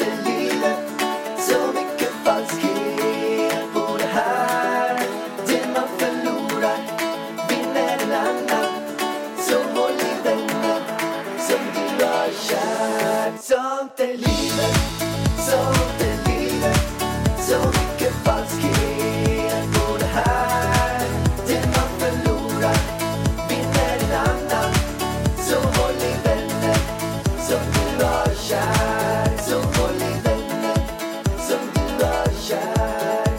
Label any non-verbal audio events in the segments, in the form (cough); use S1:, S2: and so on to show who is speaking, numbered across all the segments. S1: är livet Så mycket falskhet på det här Det man förlorar vinner en annan Så håll i vännen som du har kär Sånt är livet, sånt är livet Så mycket falskhet på det här Det man förlorar vinner en annan Så håll i vännen som du har kär Så håll i vännen som du har kär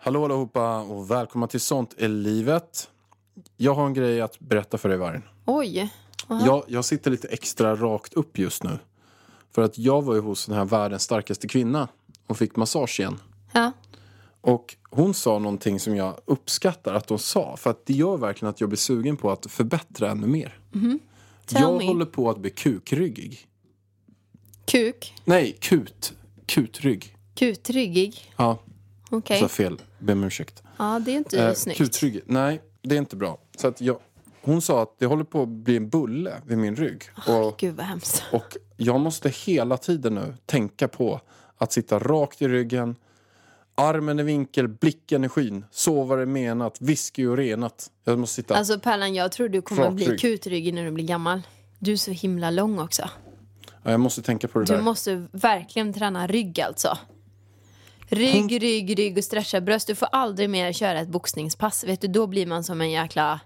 S2: Hallå allihopa och välkomna till Sånt är livet. Jag har en grej att berätta för dig Vargen.
S3: Oj.
S2: Jag, jag sitter lite extra rakt upp just nu. För att jag var ju hos den här världens starkaste kvinna och fick massage igen.
S3: Ja.
S2: Och hon sa någonting som jag uppskattar att hon sa. För att det gör verkligen att jag blir sugen på att förbättra ännu mer.
S3: Mhm. Tell
S2: jag
S3: me.
S2: håller på att bli kukryggig.
S3: Kuk.
S2: Nej, kut. Kutrygg.
S3: Kutryggig.
S2: Ja,
S3: Okej.
S2: så fel. Be om ursäkt.
S3: Ja, det är inte
S2: Alltså, Eh,
S3: snyggt.
S2: Kutrygg. Nej, det är inte bra. Så att jag, hon sa att det håller på att bli en bulle vid min rygg. Och,
S3: Gud vad hemskt.
S2: och jag måste hela tiden nu tänka på att sitta rakt i ryggen, armen i vinkel, blicken i skyn, sova är menat, whisky och renat. Jag måste sitta...
S3: Alltså Pärlan, jag tror du kommer att bli
S2: Rakrygg.
S3: kutryggig när du blir gammal. Du är så himla lång också.
S2: ja, jag måste tänka på det
S3: Du
S2: där.
S3: måste verkligen träna rygg alltså. Rygg, rygg, rygg och stretcha bröst. Du får aldrig mer köra ett boxningspass. Vet du, då blir man som en jäkla...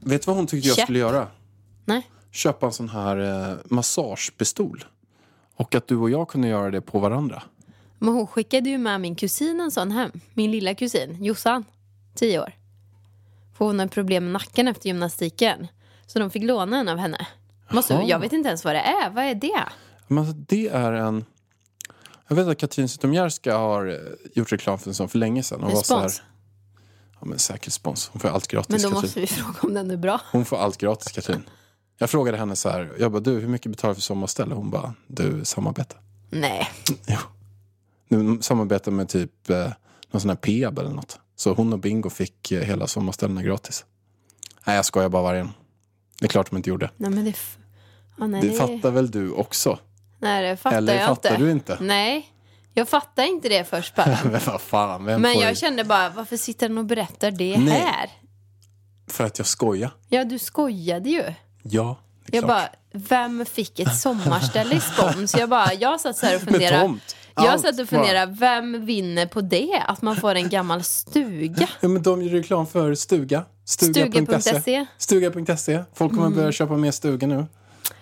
S2: Vet du vad hon tyckte jag
S3: Käpp.
S2: skulle göra?
S3: Nej.
S2: Köpa en sån här eh, massagepistol. Och att du och jag kunde göra det på varandra.
S3: Men hon skickade ju med min kusin en sån hem. Min lilla kusin, Jossan, 10 år. För hon hade problem med nacken efter gymnastiken. Så de fick låna en av henne. Måste,
S2: Jaha.
S3: jag vet inte ens vad det är. Vad är det?
S2: Men alltså, det är en... Jag vet att Katrin Zytomierska har eh, gjort reklam för en sån för länge sedan. Hon
S3: En
S2: var så här-
S3: spons?
S2: Ja, men säker spons. Hon får allt gratis,
S3: Men
S2: Katrin.
S3: då måste vi (laughs) fråga om den är bra.
S2: Hon får allt gratis, Katrin. Jag frågade henne så här. Jag bara, du, hur mycket betalar du för sommarställe? Hon bara, du, samarbete.
S3: Nej.
S2: Nu samarbetar med typ eh, någon sån här Peab eller något. Så hon och Bingo fick eh, hela sommarställena gratis. Nej, jag skojar bara vargen. Det är klart de inte gjorde.
S3: Nej men det... f- Ja, nej,
S2: Det
S3: det-
S2: fattar väl du också?
S3: Nej, det fattar
S2: Eller
S3: jag
S2: fattar
S3: inte.
S2: du inte? (laughs)
S3: Nej, jag fattar inte det först bara.
S2: Men vad fan, (laughs) vem
S3: Men
S2: får
S3: jag kände bara, varför sitter den och berättar det
S2: Nej.
S3: här?
S2: För att jag skojar.
S3: Ja, du skojade ju.
S2: Ja, det är
S3: Jag
S2: klart.
S3: bara, vem fick ett sommarställe i spons? Jag bara, jag satt
S2: (laughs)
S3: så här och funderade.
S2: tomt.
S3: Jag
S2: Allt
S3: satt och
S2: bara.
S3: funderade, vem vinner på det? Att man får en gammal stuga?
S2: Ja, men de gör reklam för Stuga. E.
S3: Stuga.se. E.
S2: Stuga.se. Stuga.se. E. Folk kommer börja köpa mer stuga nu.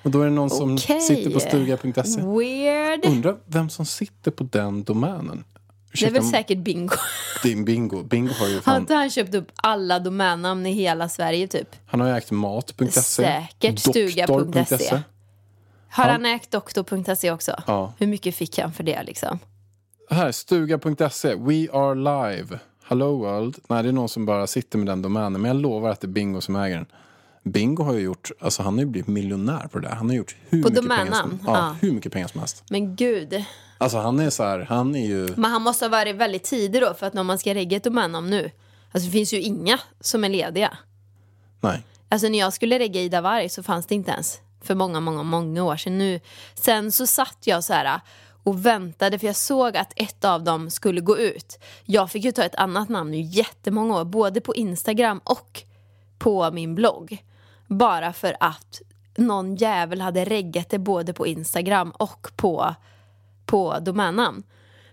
S2: Och då är det någon som
S3: Mm. Okej.
S2: sitter på Stuga.se.
S3: Weird.
S2: E. Undrar vem som sitter på den domänen.
S3: Det är
S2: Oh, Ursäkta,
S3: väl säkert bingo.
S2: Din bingo. Bingo har ju
S3: Har
S2: fan...
S3: inte han köpt upp alla domännamn i hela Sverige typ?
S2: Han har ju ägt mat.se.
S3: Säkert
S2: E.
S3: Stuga.se.
S2: doktor.se.
S3: E. Har
S2: Ja.
S3: han ägt doktor.se E också?
S2: Ja.
S3: Hur mycket fick han för det liksom?
S2: Här, Stuga.se. We are live. Hello world. Nej, det är någon som bara sitter med den domänen. Men jag lovar att det är Bingo som äger den. Bingo har ju gjort... Alltså han har ju blivit miljonär på det där. Han har gjort hur
S3: På
S2: mycket pengar som,
S3: domännamn?
S2: ja,
S3: Ja.
S2: hur mycket pengar som helst.
S3: Men gud.
S2: Alltså han är så här, han är ju...
S3: Men han måste ha varit väldigt tidig då för att när man ska lägga ett domännamn nu. Alltså det finns ju inga som är lediga.
S2: Nej.
S3: Alltså när jag skulle regga Ida Warg så fanns det inte ens för många, många, många år sedan nu. Sen så satt jag så här och väntade för jag såg att ett av dem skulle gå ut. Jag fick ju ta ett annat namn i jättemånga år, både på Instagram och på min blogg. Bara för att någon jävel hade reggat det både på Instagram och på, på domännamn.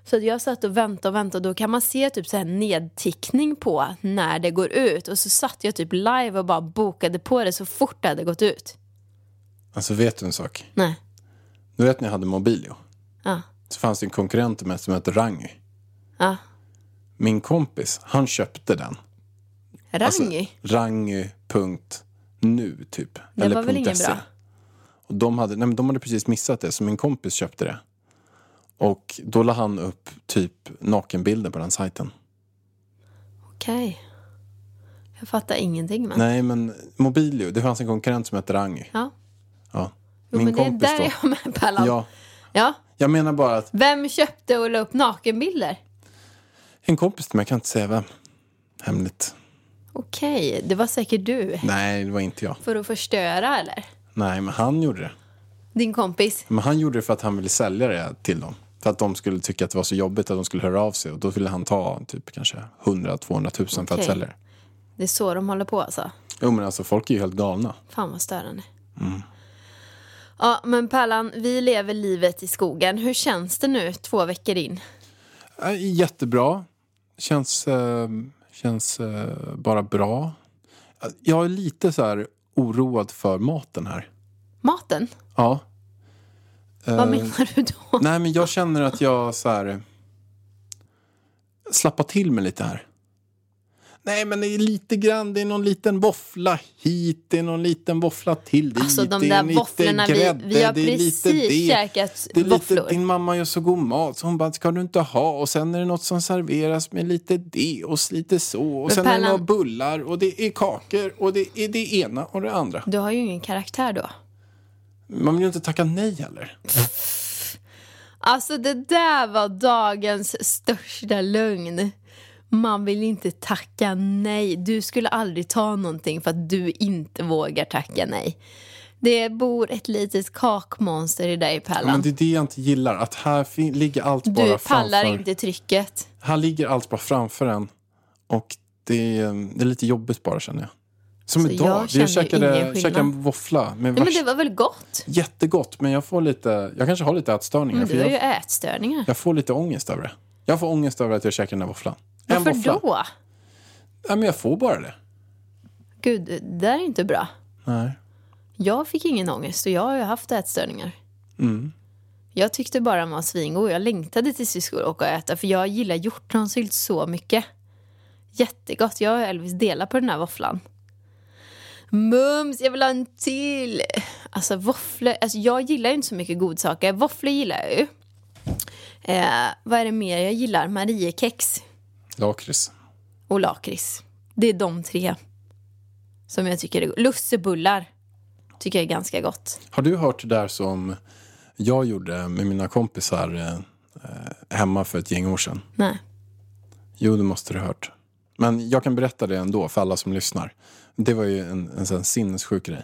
S3: Så att jag satt och väntade och väntade och då kan man se typ så här nedtickning på när det går ut. Och så satt jag typ live och bara bokade på det så fort det hade gått ut.
S2: Alltså vet du en sak?
S3: Nej.
S2: Du vet när jag hade Mobilio?
S3: Ja.
S2: Så fanns det en konkurrent till mig som hette Rangy.
S3: Ja.
S2: Min kompis, han köpte den.
S3: Rangy?
S2: Alltså, Rangy.nu typ.
S3: Det var väl ingen
S2: .se.
S3: bra?
S2: Och de, hade, nej, men de hade precis missat det, så min kompis köpte det. Och då la han upp typ nakenbilder på den sajten.
S3: Okej. Jag fattar ingenting men.
S2: Nej, men Mobilio. Det fanns en konkurrent som hette Rangi.
S3: Ja.
S2: Ja.
S3: Jo,
S2: Min
S3: men det är
S2: kompis
S3: där
S2: då.
S3: jag med Pallan.
S2: Ja.
S3: ja.
S2: Jag menar bara att
S3: Vem köpte och la upp nakenbilder?
S2: en kompis till mig, jag kan inte säga vem. Hemligt.
S3: Okej, det var säkert du.
S2: Nej, det var inte jag.
S3: För att förstöra eller?
S2: Nej, men han gjorde det.
S3: Din kompis?
S2: Men han gjorde det för att han ville sälja det till dem. För att de skulle tycka att det var så jobbigt att de skulle höra av sig. Och då ville han ta typ kanske 100-200 tusen för att
S3: Okej.
S2: sälja det.
S3: Det är så de håller på alltså.
S2: Jo men alltså folk är ju helt galna.
S3: Fan vad störande.
S2: Mm.
S3: Ja, men Pärlan, vi lever livet i skogen. Hur känns det nu två veckor in?
S2: Äh, Jättebra. Känns, eh, känns eh, bara bra. Äh, Jag är lite så här oroad för maten här.
S3: Maten?
S2: Ja. Eh,
S3: Vad menar du då?
S2: Nej men jag känner att jag så här slappar till mig lite här. Nej men det är lite grann, det är någon liten våffla hit, det är någon liten våffla till dit.
S3: Alltså de
S2: det är
S3: där
S2: lite
S3: våfflorna, vi, vi har
S2: det är
S3: precis käkat
S2: Det är lite,
S3: våfflor.
S2: din mamma gör så god mat så hon bara, ska du inte ha? Och sen är det något som serveras med lite det och lite så. Och
S3: Men
S2: sen är det
S3: Pärlan-
S2: några bullar och det är kakor och det är det ena och det andra.
S3: Du har ju ingen karaktär då.
S2: Man vill ju inte tacka nej heller.
S3: Alltså det där var dagens största lögn. Man vill inte tacka nej. Du skulle aldrig ta någonting för att du inte vågar tacka nej. Det bor ett litet kakmonster i dig,
S2: Ja, men
S3: Pallan.
S2: det är det jag inte gillar, att här fin- ligger allt bara
S3: Du pallar
S2: framför.
S3: inte trycket.
S2: Här ligger allt bara framför en. Och det är, det är lite jobbigt bara känner jag. Som
S3: Så
S2: idag.
S3: Alltså, jag
S2: Jag,
S3: känner ju ingen
S2: käkade,
S3: skillnad.
S2: käkade eh, en våffla med
S3: Nej, men
S2: värst-
S3: det var väl gott?
S2: Jättegott, men jag får lite... Jag kanske har lite ätstörningar.
S3: Men
S2: för
S3: du har Mm, ju
S2: jag,
S3: ätstörningar.
S2: jag får lite ångest över det. Jag får ångest över att jag käkar den där våfflan. en
S3: Varför
S2: våffla.
S3: då?
S2: Nej, men jag får bara det.
S3: Gud, det där är inte bra.
S2: Nej.
S3: Jag fick ingen ångest och jag har ju haft ätstörningar.
S2: Mm.
S3: Jag tyckte bara den var svingod. Jag längtade tills vi skulle åka och äta för jag gillar hjortronsylt så mycket. Jättegott. Jag och Elvis delar på den här våfflan. Mums, jag vill ha en till! Alltså våfflor, alltså jag gillar ju inte så mycket godsaker. Våfflor gillar jag ju. Eh, vad är det mer jag gillar? Mariekex
S2: Lakrits.
S3: och lakrits. Det är de tre som jag tycker är go- Lussebullar tycker jag är ganska gott.
S2: Har du hört det där som jag gjorde med mina kompisar eh, eh, hemma för ett gäng år sedan?
S3: Nej.
S2: Jo, det måste du ha hört. Men jag kan berätta det ändå för alla som lyssnar. Det var ju en, en sån sinnessjuk grej.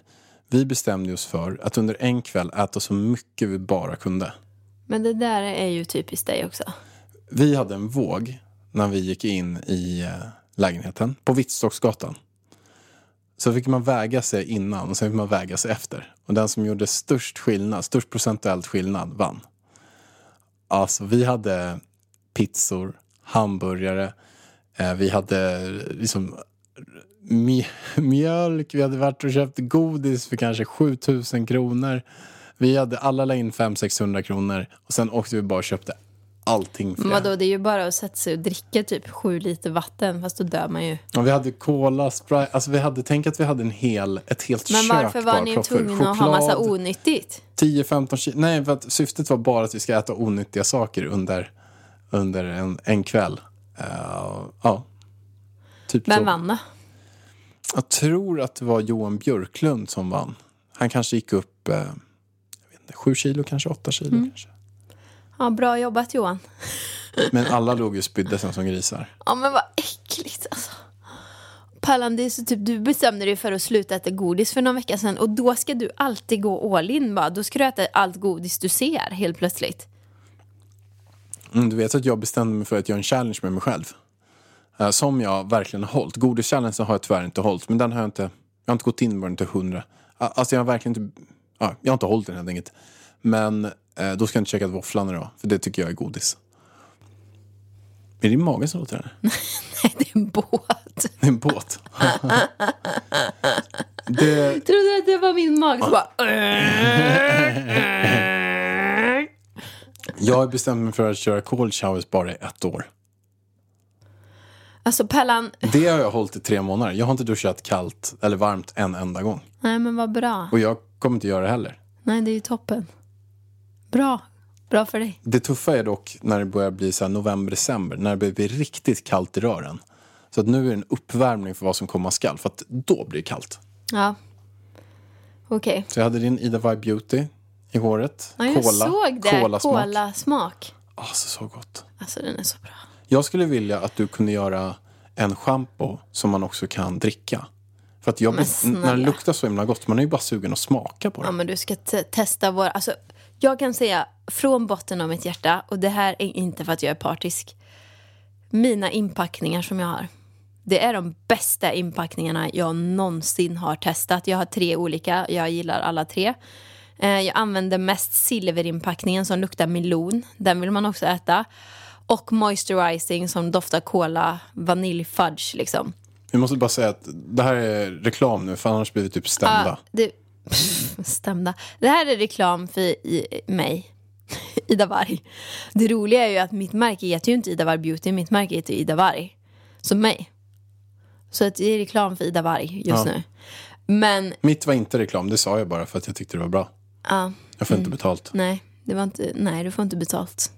S2: Vi bestämde oss för att under en kväll äta så mycket vi bara kunde.
S3: Men det där är ju typiskt dig också.
S2: Vi hade en våg när vi gick in i eh, lägenheten på Vittstocksgatan. Så fick man väga sig innan och sen fick man väga sig efter. Och den som gjorde störst skillnad, störst procentuellt skillnad vann. Alltså vi hade pizzor, hamburgare, eh, vi hade eh, liksom mj- mjölk, vi hade varit och köpt godis för kanske 7000 kronor. Vi hade alla la in 500-600 kronor och sen åkte vi bara och köpte allting för
S3: Men
S2: det.
S3: vadå, det är ju bara att sätta sig och dricka typ sju liter vatten, fast då dör man ju.
S2: Ja, vi hade cola, Sprite. Alltså vi hade, tänk att vi hade en hel, ett helt
S3: Men
S2: kök
S3: varför var
S2: bara
S3: ni
S2: proppfullt.
S3: tvungna att ha massa
S2: Choklad,
S3: onyttigt?
S2: 10-15 kilo. Nej, för att syftet var bara att vi ska äta onyttiga saker under, under en, en kväll. Eh, ja. Typ så.
S3: Vem vann då?
S2: Jag tror att det var Johan Björklund som vann. Han kanske gick upp eh, jag vet inte, 7 kilo, kanske 8 kilo.
S3: Mm.
S2: Kanske.
S3: Ja, bra jobbat Johan.
S2: Men alla låg ju och spydde sen som grisar.
S3: Ja, men vad äckligt alltså. Pallan, det är så typ, du bestämde dig för att sluta äta godis för någon vecka sedan och då ska du alltid gå all in bara. Då ska du äta allt godis du ser helt plötsligt.
S2: Mm, du vet att jag bestämde mig för att göra en challenge med mig själv. Eh, som jag verkligen har hållit. Godis-challengen har jag tyvärr inte hållit. Men den har jag inte... Jag har inte gått in på den till hundra. Ah, Alltså jag har verkligen inte... ja, jag har inte hållit den helt enkelt. Men eh, då ska jag inte käka våfflan idag. För det tycker jag är godis. Är det i magen som låter det? här?
S3: (laughs) Det är en båt.
S2: Det är en båt. (laughs) det,
S3: Trodde att det var min mage som bara... "Äh."
S2: jag har bestämt mig för att köra cold showers bara i ett år.
S3: Alltså Pallan,
S2: Det har jag hållit i tre månader. Jag har inte duschat kallt eller varmt en enda gång.
S3: nej men vad bra.
S2: Och jag kommer inte göra det heller.
S3: Nej, det är ju toppen. Bra. Bra för dig.
S2: Det tuffa är dock när det börjar bli så här november, december, när det börjar bli riktigt kallt i rören. Så att nu är det en uppvärmning för vad som komma skall. För att då blir det kallt.
S3: Ja. Okej.
S2: Så jag hade din Ida Vibe Beauty i håret.
S3: Ja, jag
S2: Cola.
S3: såg det.
S2: Colasmak.
S3: Kolasmak.
S2: Alltså så gott.
S3: Alltså den är så bra.
S2: Jag skulle vilja att du kunde göra en schampo som man också kan dricka. För att jag
S3: Men
S2: blir, när det
S3: snälla.
S2: luktar så himla gott, man är ju bara sugen att smaka på det.
S3: Ja, men du ska te- testa våra... Alltså, jag kan säga från botten av mitt hjärta, och det här är inte för att jag är partisk. Mina inpackningar som jag har, det är de bästa inpackningarna jag någonsin har testat. Jag har tre olika, jag gillar alla tre. Eh, Jag använder mest silverinpackningen som luktar melon. Den vill man också äta. Och moisturizing som doftar kola, vaniljfudge liksom.
S2: Vi måste bara säga att det här är reklam nu, för annars blir vi typ
S3: Ja,
S2: stämda.
S3: det, (laughs) stämda. Det här är reklam för i, mig, (laughs) Ida Warg. Det roliga är ju att mitt märke heter ju inte Ida Warg Beauty, mitt märke heter ju Ida Warg. Som mig. Så att det är reklam för Ida Warg just nu. Men
S2: Mitt var inte reklam, det sa jag bara för att jag tyckte det var bra.
S3: ja,
S2: Jag
S3: Mm.
S2: får inte betalt.
S3: nej, det var inte, nej, du får inte betalt.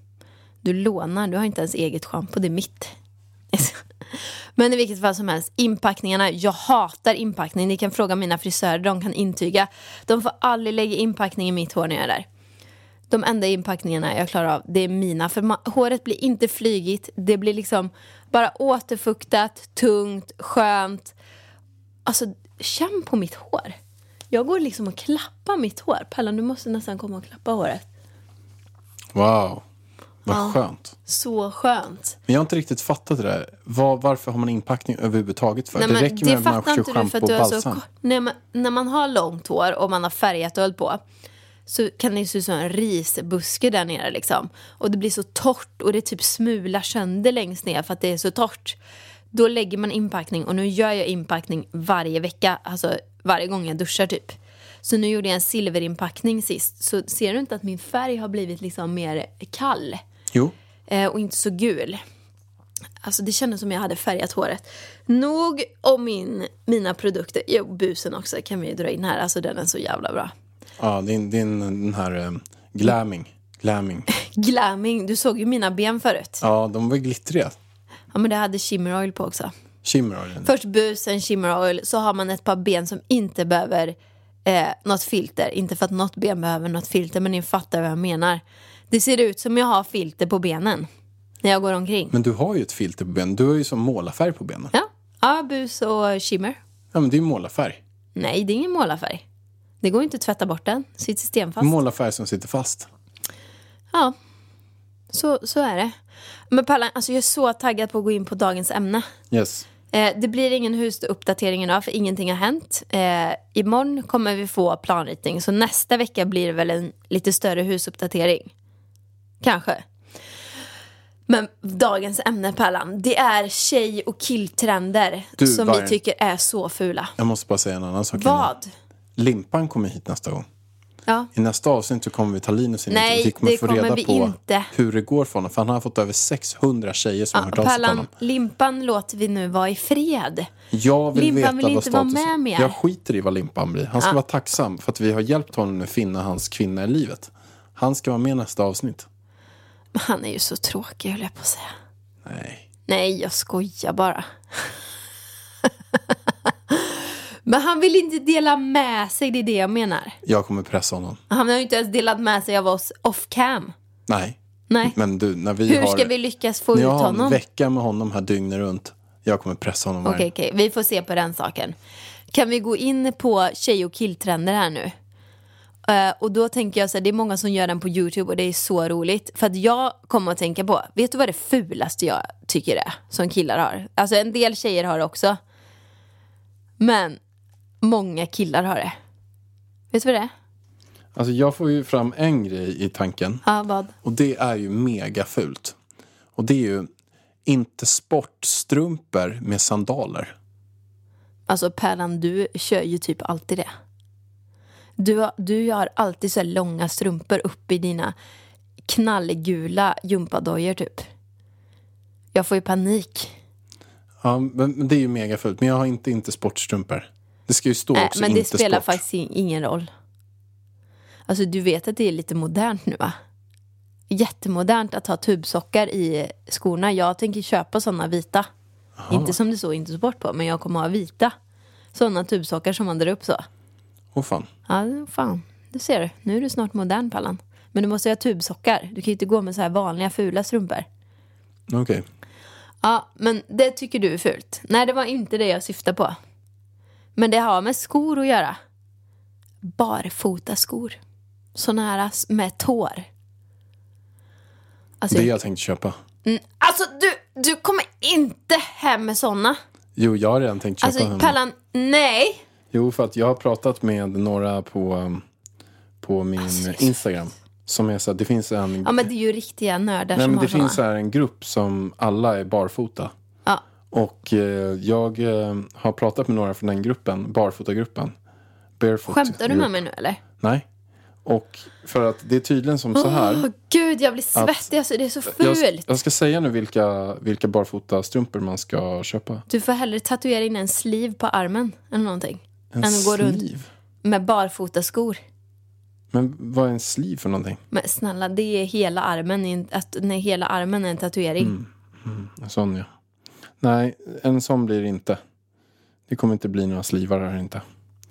S3: Du lånar, du har inte ens eget schampo, det är mitt. (laughs) Men i vilket fall som helst, inpackningarna, jag hatar inpackning. Ni kan fråga mina frisörer, de kan intyga. De får aldrig lägga inpackning i mitt hår när jag är där. De enda inpackningarna jag klarar av, det är mina. För ma- håret blir inte flygigt, det blir liksom bara återfuktat, tungt, skönt. Alltså, känn på mitt hår. Jag går liksom och klappar mitt hår. Pallan, du måste nästan komma och klappa håret.
S2: Wow, vad skönt.
S3: Så skönt.
S2: Men jag har inte riktigt fattat det där. Var, varför har man inpackning överhuvudtaget för? det räcker med att man kör schampo och balsam.
S3: ko- Nej, men när man har långt hår och man har färgat och hållit på så kan det ju se ut som en risbuske där nere liksom. Och det blir så torrt och det typ smular sönder längst ner för att det är så torrt. Då lägger man inpackning och nu gör jag inpackning varje vecka, alltså varje gång jag duschar typ. Så nu gjorde jag en silverinpackning sist, så ser du inte att min färg har blivit liksom mer kall?
S2: Jo,
S3: eh, och inte så gul. Alltså det kändes som jag hade färgat håret. Nog om min, mina produkter. Jo, busen också kan vi ju dra in här. Alltså den är så jävla bra.
S2: ja, din, din den här eh, glamming. glamming.
S3: Glamming, du såg ju mina ben förut. Ja,
S2: Ja, de var glittriga.
S3: men det hade shimmer oil på också.
S2: Shimmer har den.
S3: Först busen, shimmer oil, så har man ett par ben som inte behöver eh, något filter. Inte för att något ben behöver något filter, men ni fattar vad jag menar. Det ser ut som jag har filter på benen när jag går omkring.
S2: Men du har ju ett filter på benen. Du har ju som målarfärg på benen.
S3: Ja, ja bus och shimmer.
S2: Ja, men det är ju målarfärg.
S3: Nej, det är ingen målarfärg. Det går inte att tvätta bort den. Sitter stenfast.
S2: Målarfärg som sitter fast.
S3: ja, så, så är det. Men Pallan, alltså jag är så taggad på att gå in på dagens ämne.
S2: Yes.
S3: Eh, det blir ingen husuppdatering idag för ingenting har hänt. Eh, imorgon kommer vi få planritning så nästa vecka blir det väl en lite större husuppdatering. Kanske. Men dagens ämne Pallan, det är tjej och killtrender
S2: Du,
S3: som vi
S2: Vargen.
S3: tycker är så fula.
S2: Jag måste bara säga en annan sak. innan.
S3: Vad?
S2: Limpan kommer hit nästa gång.
S3: Ja.
S2: I nästa avsnitt så kommer vi ta Linus in
S3: Nej,
S2: och vi kommer
S3: det
S2: få
S3: kommer
S2: reda
S3: vi
S2: på
S3: inte.
S2: hur det går för honom. För han har fått över 600 tjejer som har hört av sig till honom.
S3: Pallan, limpan låter vi nu vara i fred.
S2: Jag vill
S3: Limpan
S2: veta
S3: vill
S2: vad
S3: inte vara
S2: status är.
S3: med mer.
S2: Jag skiter i vad Limpan blir. Han ska vara tacksam för att vi har hjälpt honom nu finna hans kvinna i livet. Han ska vara med i nästa avsnitt.
S3: Men Han är ju så tråkig höll jag på att säga.
S2: Nej.
S3: Nej, jag skojar bara. (laughs) Men han vill inte dela med sig, det är det jag menar.
S2: Jag kommer pressa honom.
S3: Han har ju inte ens delat med sig av oss off cam.
S2: Nej.
S3: Nej.
S2: Men du, när vi
S3: Hur
S2: har...
S3: ska vi lyckas få
S2: när
S3: ut
S2: jag har en
S3: honom?
S2: vecka med honom här dygnet runt. Jag kommer pressa honom varje...
S3: Okej, okej. Vi får se på den saken. Kan vi gå in på tjej och killtrender här nu? Eh, och då tänker jag så här, det är många som gör den på YouTube och det är så roligt. För att jag kommer att tänka på, vet du vad det fulaste jag tycker är som killar har? Alltså en del tjejer har det också. Men många killar har det. Vet du vad det är?
S2: Alltså jag får ju fram en grej i tanken.
S3: Ja, vad?
S2: Och det är ju mega fult. Och det är ju inte sportstrumpor med sandaler.
S3: Alltså Pärlan, du kör ju typ alltid det. Du, har- du har alltid så här långa strumpor upp i dina knallgula gympadojor typ. Jag får ju panik.
S2: Ja, men men det är ju mega fult. Men jag har inte inte sportstrumpor. Det ska ju stå
S3: Nej,
S2: också
S3: Äh, men det
S2: inte
S3: spelar
S2: sport.
S3: faktiskt in- ingen roll. Alltså du vet att det är lite modernt nu va? Jättemodernt att ha tubsockar i skorna. Jag tänker köpa sådana vita. Inte som det såg inte så bort på, men jag kommer ha vita. Sådana tubsockar som man drar upp så.
S2: Åh fan.
S3: Ja, fan. Du ser, nu är du snart modern Pallan. Men du måste ha tubsockar. Du kan ju inte gå med så här vanliga fula strumpor.
S2: Okej.
S3: Ja, men det tycker du är fult. Nej, det var inte det jag syftade på. Men det har med skor att göra. Barfota skor. Såna här s- med tår. Alltså,
S2: Det jag tänkte köpa.
S3: mm, alltså du, du kommer inte hem med såna.
S2: Jo, jag har redan tänkt köpa
S3: Alltså
S2: en.
S3: Pallan, nej.
S2: Jo, för att jag har pratat med några på, um, på min Instagram. Som är så här, det finns en...
S3: Alltså, Ja men det är ju riktiga nördar
S2: Nej,
S3: som
S2: men
S3: har
S2: det
S3: såna.
S2: finns så här en grupp som alla är barfota.
S3: Ja.
S2: Och eh, jag eh, har pratat med några från den gruppen, barfotagruppen. Barefoot
S3: Skämtar du med
S2: group.
S3: mig nu eller?
S2: Nej. Och för att det är tydligen som så här.
S3: Åh gud, jag blir svettig. Alltså, det är så
S2: jag,
S3: fult.
S2: jag ska säga nu vilka, vilka barfota strumpor man ska köpa.
S3: Du får hellre tatuera in en sliv på armen eller någonting.
S2: En
S3: än att gå runt
S2: sleeve?
S3: med barfota skor.
S2: Men vad är en sleeve för någonting?
S3: Men snälla, det är hela armen, i en- att, när hela armen är en tatuering.
S2: Mm. En sån ja. Nej, en sån blir det inte. Det kommer inte bli några slivar här inte.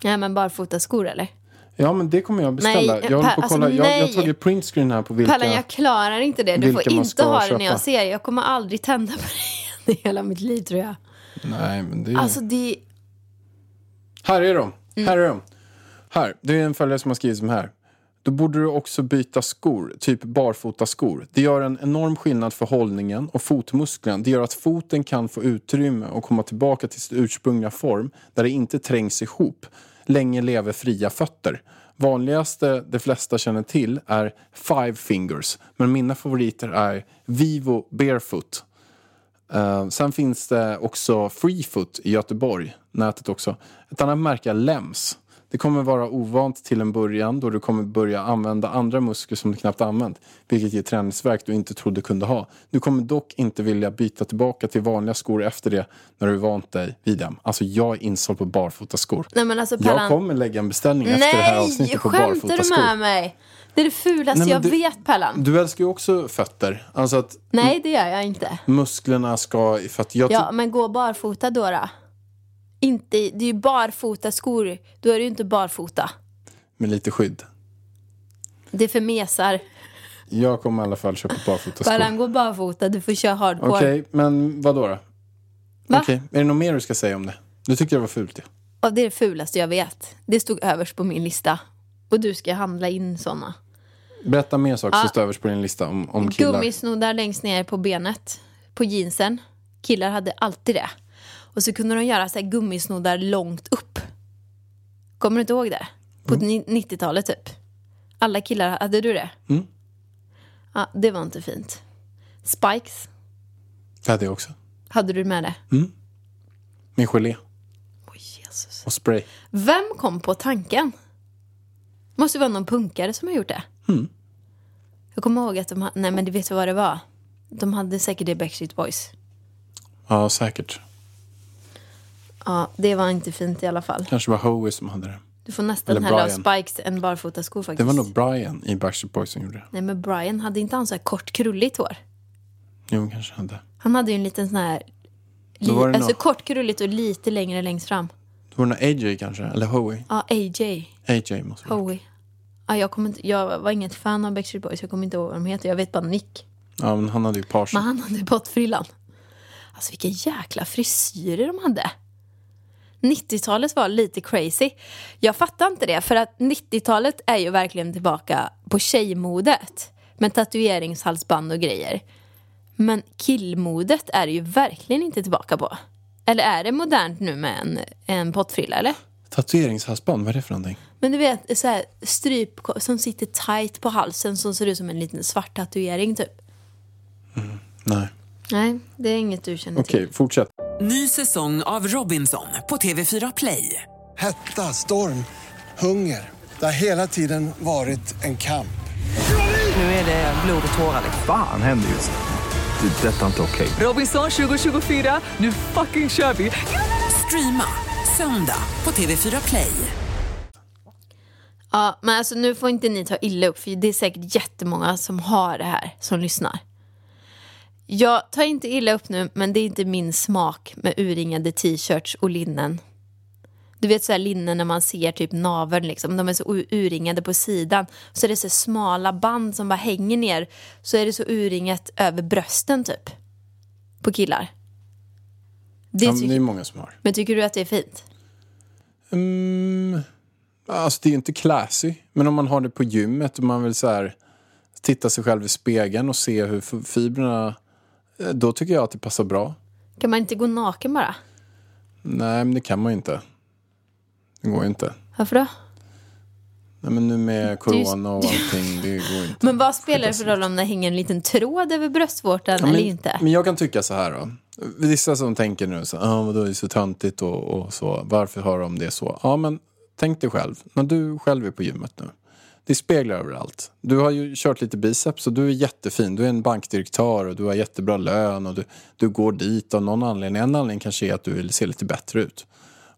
S3: Nej, men barfota skor eller?
S2: Ja, men det kommer jag beställa.
S3: Nej,
S2: jag håller på
S3: Per,
S2: att kolla.
S3: alltså,
S2: jag, jag har
S3: nej.
S2: tagit printscreen här på vilka...
S3: Pallan, jag klarar inte det. Du får
S2: vilka man
S3: inte
S2: ska
S3: ha det
S2: köpa.
S3: när jag ser det. Jag kommer aldrig tända på (laughs) det igen i hela mitt liv tror jag.
S2: Nej, men det...
S3: Alltså det...
S2: Här är de. Här är de. Här. Det är en följare som har skrivit som här. Då borde du också byta skor, typ barfota skor. Det gör en enorm skillnad för hållningen och fotmusklerna. Det gör att foten kan få utrymme och komma tillbaka till sin ursprungliga form där det inte trängs ihop. Länge lever fria fötter. Vanligaste de flesta känner till är five fingers, men mina favoriter är Vivo barefoot. Eh, sen finns det också Freefoot i Göteborg, nätet också. Ett annat märke är Lems. Det kommer vara ovant till en början då du kommer börja använda andra muskler som du knappt använt, vilket ger träningsvärk du inte trodde kunde ha. Du kommer dock inte vilja byta tillbaka till vanliga skor efter det när du vant dig vid dem. Alltså jag är insåld på barfota skor.
S3: Nej men alltså
S2: Jag
S3: Pallan...
S2: kommer lägga en beställning efter det här
S3: Nej!
S2: avsnittet på barfota skor.
S3: Skämtar du med mig? Det är det fulaste
S2: Nej, men
S3: jag
S2: du-
S3: vet Pallan.
S2: Du älskar ju också fötter. Alltså att
S3: Nej, det gör jag inte.
S2: musklerna ska... För att jag
S3: Ja, men gå barfota då då. Inte, i- det är ju barfota skor. Då är det ju inte barfota.
S2: Med lite skydd.
S3: Det är för mesar.
S2: Jag kommer i alla fall köpa barfota skor.
S3: Bara gå barfota, du får köra hardcore.
S2: Okej, men vad då? då?
S3: Va?
S2: Okej, Är det något mer du ska säga om det? Du tyckte det var fult ja.
S3: Och det är det fulaste jag vet. Det stod överst på min lista. Och du ska handla in såna.
S2: Berätta mer saker som står överst på din lista om, om killar.
S3: Gummisnoddar längst ner på benet. På jeansen. Killar hade alltid det. Och så kunde de göra så här gummisnoddar långt upp. Kommer du inte ihåg det? På ni- 90-talet typ. Alla killar, hade du det?
S2: Mm.
S3: Ja, det var inte fint. Spikes,
S2: Det hade jag också.
S3: hade du med det?
S2: Mm. Med gelé
S3: Åh Jesus.
S2: och spray.
S3: Vem kom på tanken? Måste vara någon punkare som har gjort det.
S2: Mm.
S3: Jag kommer ihåg att de hade, nej men det vet du vad det var? De hade säkert det i Backstreet Boys.
S2: Ja, säkert.
S3: Ja, det var inte fint i alla fall.
S2: Kanske var Howie som hade det.
S3: Du får nästan
S2: Eller
S3: hellre ha
S2: Brian.
S3: spikes än barfota skor faktiskt.
S2: Det var nog Brian i Backstreet Boys som gjorde det.
S3: Nej men Brian, hade inte han så här kort krulligt hår?
S2: Jo, kanske hade.
S3: Han hade ju en liten sån här, li,
S2: Då var det
S3: alltså
S2: nog-
S3: kort krulligt och lite längre längst fram.
S2: Det var nog AJ kanske, eller Howie.
S3: Ja, AJ.
S2: AJ måste det vara.
S3: Howie. Ja, jag, kommer inte, jag var inget fan av Backstreet Boys, jag kommer inte ihåg vad de heter. Jag vet bara Nick.
S2: Ja, men han hade ju page.
S3: Men han hade bottfrillan. Alltså vilka jäkla frisyrer de hade. 90-talet var lite crazy. Jag fattar inte det, för att 90-talet är ju verkligen tillbaka på tjejmodet. Med tatueringshalsband och grejer. Men killmodet är det ju verkligen inte tillbaka på. Eller är det modernt nu med en, en pottfrilla eller?
S2: Tatueringshalsband, vad är det för någonting?
S3: Men du vet, så här, stryp som sitter tight på halsen som ser ut som en liten svart tatuering typ.
S2: Nej.
S3: Nej, det är inget du känner till.
S2: Okej, fortsätt.
S4: Ny säsong av Robinson på TV4 Play.
S5: Hetta, storm, hunger. Det har hela tiden varit en kamp.
S4: Nu är det blod och tårar. liksom.
S6: Fan händer just det. Det är detta inte okej.
S4: Robinson 2024, nu fucking kör vi! Streama söndag på TV4 Play.
S3: Ja, men alltså nu får inte ni ta illa upp för det är säkert jättemånga som har det här som lyssnar. Jag tar inte illa upp nu, men det är inte min smak med urringade t-shirts och linnen. Du vet så här linnen när man ser typ naveln liksom, de är så u- urringade på sidan. Så är det så smala band som bara hänger ner, så är det så urringat över brösten typ. På killar. Det
S2: Ja,
S3: tycker-
S2: men det är många som har.
S3: Men tycker du att det är fint?
S2: Mm, alltså det är ju inte classy. Men om man har det på gymmet och man vill så här titta sig själv i spegeln och se hur f- fibrerna... eh, Då tycker jag att det passar bra.
S3: Kan man inte gå naken bara?
S2: Nej, men det kan man ju inte. Det går ju inte.
S3: Varför då?
S2: Nej, men nu med corona och allting, det
S3: (laughs)
S2: går ju inte.
S3: Men vad spelar det för roll om det hänger en liten tråd över bröstvårtan
S2: Ja,
S3: eller
S2: men,
S3: inte?
S2: Men jag kan tycka så här då. Vissa som tänker nu så, ah, men det är det så töntigt och, och så. Varför har de det så? Ja, men tänk dig själv. När du själv är på gymmet nu. Det är speglar överallt. Du har ju kört lite biceps och du är jättefin. Du är en bankdirektör och du har jättebra lön och du, du går dit av någon anledning. En anledning kanske är att du vill se lite bättre ut.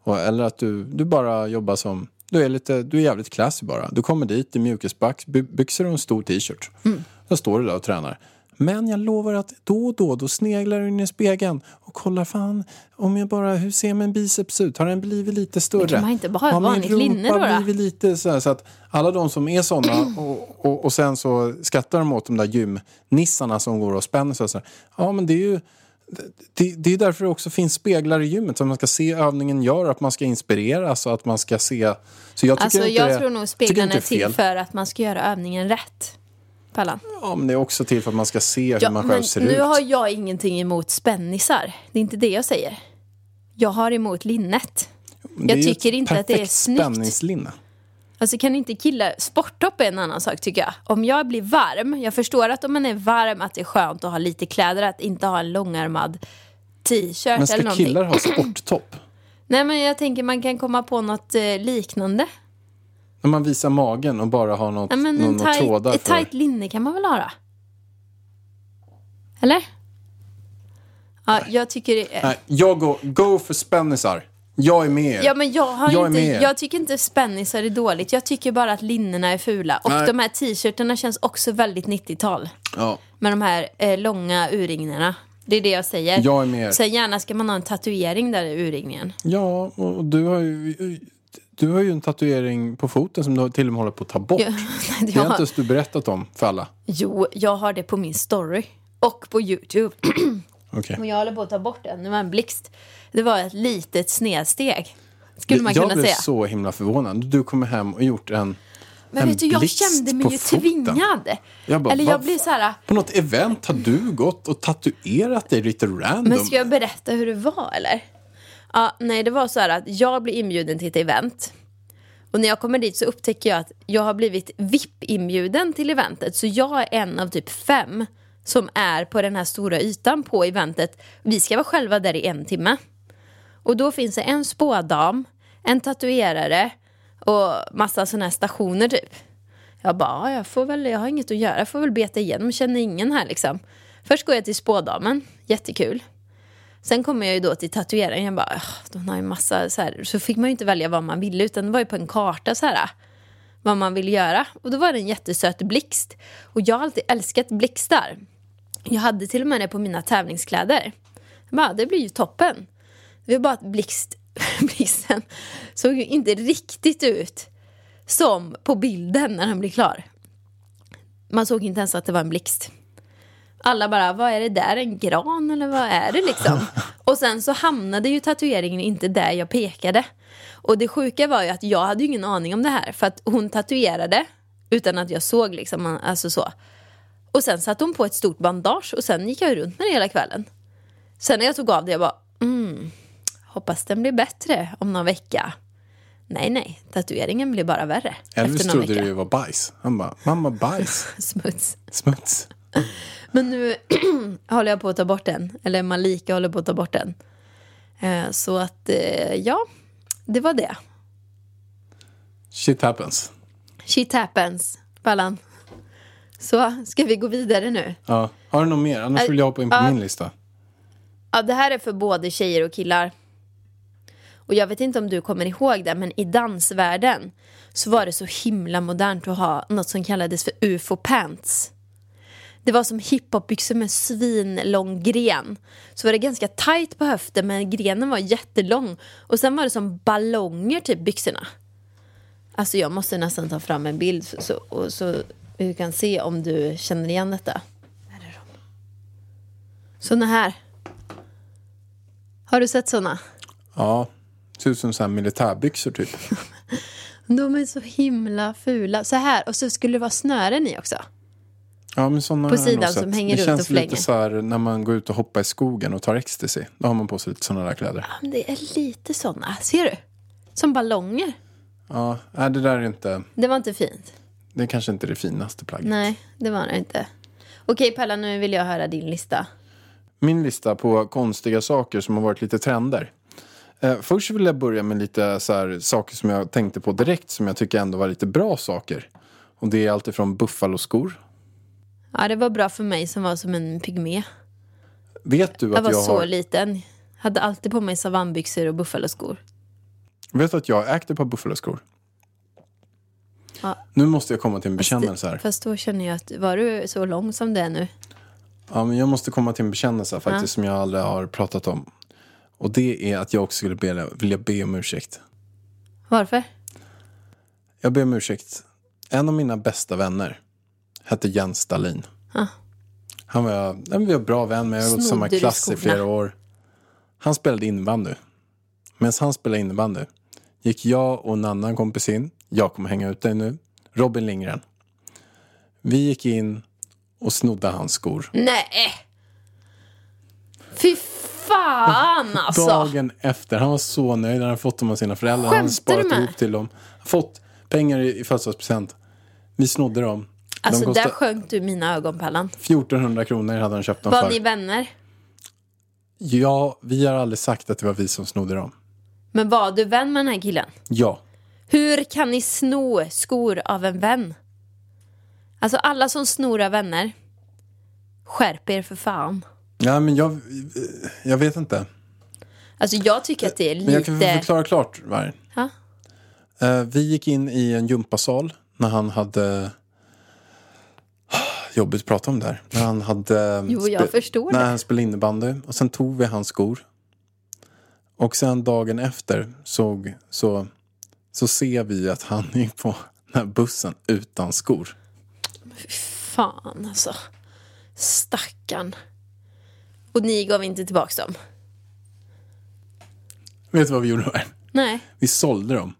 S2: Och, eller att du, du bara jobbar som... Du är, lite, du är jävligt classy bara. Du kommer dit i mjukisbyxor och en stor t-shirt. Mm. Sen står du där och tränar. Men jag lovar att då och då, då sneglar du in i spegeln och kollar fan, om jag bara, hur ser min biceps ut? Har den blivit lite större?
S3: kan man inte bara ha ett
S2: Har min
S3: vanligt linne då,
S2: rumpa
S3: då?
S2: blivit blir lite så här så att alla de som är
S3: (clears throat)
S2: såna och, och, och sen så skattar de åt de där gymnissarna som går och spänner sig. och Så här. Ja, men det är ju det, det är därför det också finns speglar i gymmet så att man ska se övningen gör, att man ska inspireras och att man ska se. Så jag tycker
S3: Alltså
S2: inte
S3: jag
S2: det,
S3: tror nog
S2: tycker
S3: speglarna
S2: inte
S3: är
S2: det
S3: till
S2: fel.
S3: för att man ska göra övningen rätt. Pallan.
S2: Ja, men det är också till för att man ska se hur
S3: Ja,
S2: man själv
S3: men
S2: ser
S3: nu
S2: ut.
S3: har jag ingenting emot spännisar. Det är inte det jag säger. Jag har emot linnet.
S2: Det är
S3: jag
S2: ju
S3: tycker
S2: ett
S3: inte att det är
S2: perfekt
S3: snyggt.
S2: spänningslinne.
S3: Alltså kan inte killar, sporttopp är en annan sak tycker jag. Om jag blir varm, jag förstår att om man är varm att det är skönt att ha lite kläder, att inte ha en långärmad t-shirt
S2: Men
S3: eller
S2: ska
S3: någonting.
S2: killar ha sporttopp?
S3: Nej men jag tänker man kan komma på något eh, liknande.
S2: När man visar magen och bara har något,
S3: Ja, men
S2: någon,
S3: en
S2: några
S3: tight,
S2: trådar
S3: ett
S2: för.
S3: tight linne kan man väl ha då? Eller? Ja, jag tycker det är...
S2: Nej, jag går, go för spännisar. Jag är med er.
S3: Ja, men jag, har
S2: Jag är
S3: inte,
S2: med.
S3: jag tycker inte spännisar är dåligt. Jag tycker bara att linnena är fula. Och
S2: Nej.
S3: de här t-shirtarna känns också väldigt 90-tal.
S2: Ja.
S3: Med de här eh, långa urringningarna. Det är det jag säger.
S2: Jag är med er.
S3: Sen gärna ska man ha en tatuering där i urringningen. (laughs)
S2: Ja, och och du har ju... Du har ju en tatuering på foten som du till och med håller på att ta bort.
S3: Ja,
S2: Det har
S3: jag-
S2: inte ens du berättat om för alla.
S3: Jo, jag har det på min story. Och på YouTube. (clears throat)
S2: Okej.
S3: Och jag håller på att ta bort den. Det var en blixt. Det var ett litet snedsteg. Skulle man
S2: jag
S3: kunna
S2: blev
S3: säga.
S2: så himla förvånad. Du kommer hem och gjort en
S3: Men
S2: en
S3: vet du, jag
S2: blixt
S3: kände mig
S2: på
S3: ju
S2: foten.
S3: tvingad.
S2: Jag bara,
S3: Eller jag
S2: vad
S3: blir
S2: fan?
S3: så här.
S2: På något event har du gått och tatuerat dig lite random.
S3: Men ska jag berätta hur det var eller? Ja, nej, det var så här att jag blev inbjuden till ett event. Och när jag kommer dit så upptäcker jag att jag har blivit VIP-inbjuden till eventet. Så jag är en av typ fem som är på den här stora ytan på eventet. Vi ska vara själva där i en timme. Och då finns det en spådam, en tatuerare och massa sådana här stationer typ. Jag bara, "Ja, jag, får väl, jag har inget att göra, jag får väl beta igenom, känner ingen här liksom. Först går jag till spådamen, jättekul. Sen kommer jag ju då till tatueringen, jag bara, "Åh, de har ju massa så här. Så fick man ju inte välja vad man ville, utan det var ju på en karta så här vad man vill göra. Och då var det en jättesöt blixt. Och jag har alltid älskat blixtar. Jag hade till och med det på mina tävlingskläder. Jag bara, det blir ju toppen. Det var bara att blixt, (laughs) blixten såg ju inte riktigt ut som på bilden när den blir klar. Man såg inte ens att det var en blixt. Alla bara, vad är det där, en gran eller vad är det liksom?
S2: (laughs)
S3: Och sen så hamnade ju tatueringen inte där jag pekade. Och det sjuka var ju att jag hade ju ingen aning om det här för att hon tatuerade utan att jag såg liksom, alltså så. Och sen satte hon på ett stort bandage och sen gick jag runt med det hela kvällen. Sen när jag tog av det, jag bara, mm, hoppas den blir bättre om någon vecka. Nej, nej, tatueringen blir bara värre
S2: Elvis
S3: efter någon
S2: trodde
S3: vecka.
S2: det ju var bajs. Han bara, mamma bajs,
S3: (laughs) Smuts.
S2: smuts.
S3: Men nu (clears throat) håller jag på att ta bort den. Eller Malika håller på att ta bort den. Eh, så att, eh, ja. Det var det.
S2: Shit happens.
S3: Shit happens, Ballan. Så, ska vi gå vidare nu?
S2: Ja. Har du något mer? Annars vill jag hoppa in på
S3: Ja.
S2: min lista.
S3: Ja, det här är för både tjejer och killar. Och jag vet inte om du kommer ihåg det, men i dansvärlden så var det så himla modernt att ha något som kallades för ufo-pants. Det var som hiphopbyxor med svinlång gren. Så var det ganska tight på höften men grenen var jättelång. Och sen var det som ballonger typ byxorna. Alltså jag måste nästan ta fram en bild så, så, och så vi kan se om du känner igen detta. Där är de. Såna här. Har du sett såna?
S2: Ja. Ser ut som så här militärbyxor typ.
S3: De är så himla fula. Så här, och så skulle det vara snören i också.
S2: Ja, men såna
S3: På
S2: har jag
S3: sidan
S2: nog
S3: som
S2: sett.
S3: hänger
S2: det
S3: runt
S2: känns
S3: och flänger.
S2: lite så här när man går ut och hoppar i skogen och tar ecstasy. Då har man på sig lite sådana där kläder.
S3: Men Det är lite såna. Ser du? Som ballonger.
S2: Ja, nej, det där är inte,
S3: Det var inte fint.
S2: det är kanske inte det finaste plagget.
S3: Nej, det var det inte. Okej Pella, nu vill jag höra din lista.
S2: min lista på konstiga saker som har varit lite trender. Eh, först vill jag börja med lite så här, saker som jag tänkte på direkt som jag tycker ändå var lite bra saker. Och det är alltifrån buffaloskor.
S3: Ja, det var bra för mig som var som en pygmé.
S2: Vet du
S3: Jag
S2: att
S3: var
S2: jag,
S3: så
S2: har,
S3: liten. Hade alltid på mig savannbyxor och buffaloskor.
S2: vet du att jag har ägt ett par buffaloskor?
S3: Ja.
S2: Nu måste jag komma till en bekännelse här.
S3: Fast då känner jag att, var du så lång som du är nu?
S2: Ja, men jag måste komma till en bekännelse här, faktiskt som jag aldrig har pratat om. Och det är att jag också skulle be, vilja be om ursäkt.
S3: Varför?
S2: Jag ber om ursäkt. En av mina bästa vänner hette Jens Stalin.
S3: Ah.
S2: Han var, nej, men vi var bra vän, men jag har gått i samma
S3: Snodde du
S2: klass i
S3: skorna?
S2: flera år. Han spelade innebandy. Medan han spelade innebandy gick jag och en annan kompis in. Jag kommer hänga ut dig nu. Robin Lindgren. Vi gick in och snodde hans skor.
S3: Nej! Fy
S2: (laughs)
S3: fan alltså!
S2: Dagen efter. Han var så nöjd. Han hade fått dem av sina föräldrar. han
S3: Skämtar
S2: hade
S3: du
S2: sparat
S3: med?
S2: ihop till dem. Fått pengar i i födelsedagspresent. Vi snodde dem.
S3: Alltså
S2: de kostade
S3: där sjönk du i mina ögon Pallan.
S2: 1400 kronor hade han köpt dem
S3: Var
S2: för.
S3: ni vänner?
S2: Ja, vi har aldrig sagt att det var vi som snodde dem.
S3: Men var du vän med den här killen?
S2: Ja.
S3: Hur kan ni sno skor av en vän? Alltså alla som snor av vänner, skärp er för fan.
S2: Ja, men jag, jag vet inte.
S3: Alltså jag tycker att det är
S2: Men jag kan
S3: lite...
S2: förklara klart, Varg.
S3: Ja.
S2: Eh, Vi gick in i en gympasal när han hade... (sighs) Jobbigt att prata om det här. När han hade... eh,
S3: Jo, jag
S2: spe-
S3: förstår
S2: När
S3: det.
S2: han spelade innebandy. Och sen tog vi hans skor. Och sen dagen efter såg, så, så ser vi att han (laughs) gick på den här bussen utan skor.
S3: Fan alltså. Stackarn. Och ni gav inte tillbaks dem?
S2: Vet du vad vi gjorde, Varg?
S3: Nej.
S2: Vi sålde dem.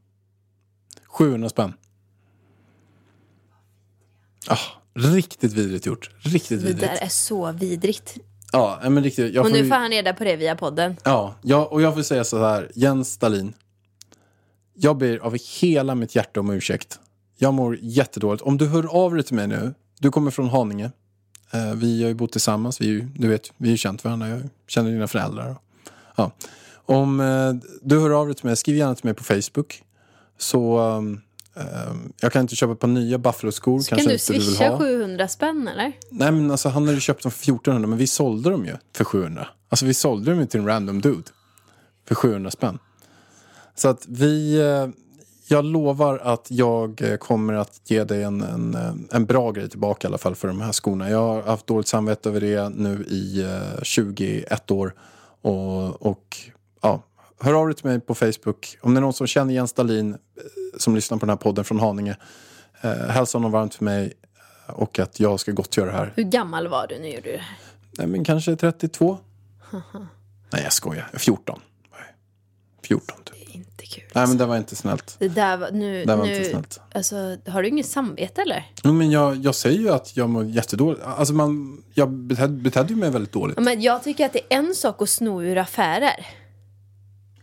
S2: 700 spänn. Ah, riktigt vidrigt gjort. Riktigt
S3: Det där
S2: vidrigt.
S3: är så vidrigt.
S2: Ja, nej, men riktigt. Jag
S3: Och
S2: får,
S3: nu
S2: ju-
S3: får han reda på det via podden.
S2: ja, jag, och jag får säga så här, Jens Stalin. Jag ber av hela mitt hjärta om ursäkt. Jag mår jättedåligt. Om du hör av dig till mig nu, du kommer från Haninge. Eh, vi har ju bott tillsammans, vi, är ju- du vet, vi har ju känt varandra, jag känner dina föräldrar. Ja. Om eh, du hör av dig till mig, skriv gärna till mig på Facebook. Så ehm, ehm, jag kan inte köpa ett par nya Buffalo-skor.
S3: Kan
S2: kanske
S3: du
S2: inte vill
S3: swisha
S2: ha.
S3: 700 spänn eller?
S2: Nej men alltså han hade ju köpt dem för 1400 men vi sålde dem ju för 700. Alltså vi sålde dem ju till en random dude. För 700 spänn. Så att vi, eh, jag lovar att jag eh, kommer att ge dig en, en, eh, en bra grej tillbaka i alla fall för de här skorna. Jag har haft dåligt samvete över det nu i eh, 21 år. Och, och ja, hör av dig till mig på Facebook. Om det är någon som känner Jens Stalin eh, som lyssnar på den här podden från Haninge. Eh, hälsa honom varmt för mig och att jag ska gottgöra det här.
S3: Hur gammal var du när du gjorde det? här?
S2: Nej, men kanske 32. Nej, jag skojar. 14. Nej, 14 typ.
S3: Det är inte kul.
S2: Nej, men det var inte snällt.
S3: Det där var, nu,
S2: Det var
S3: nu,
S2: inte snällt.
S3: Alltså, har du inget samvete eller?
S2: Jo, men jag, jag säger ju att jag mår jättedåligt. Alltså, man, jag betedde, betedde ju mig väldigt dåligt.
S3: Ja, Men jag tycker att det är en sak att sno ur affärer.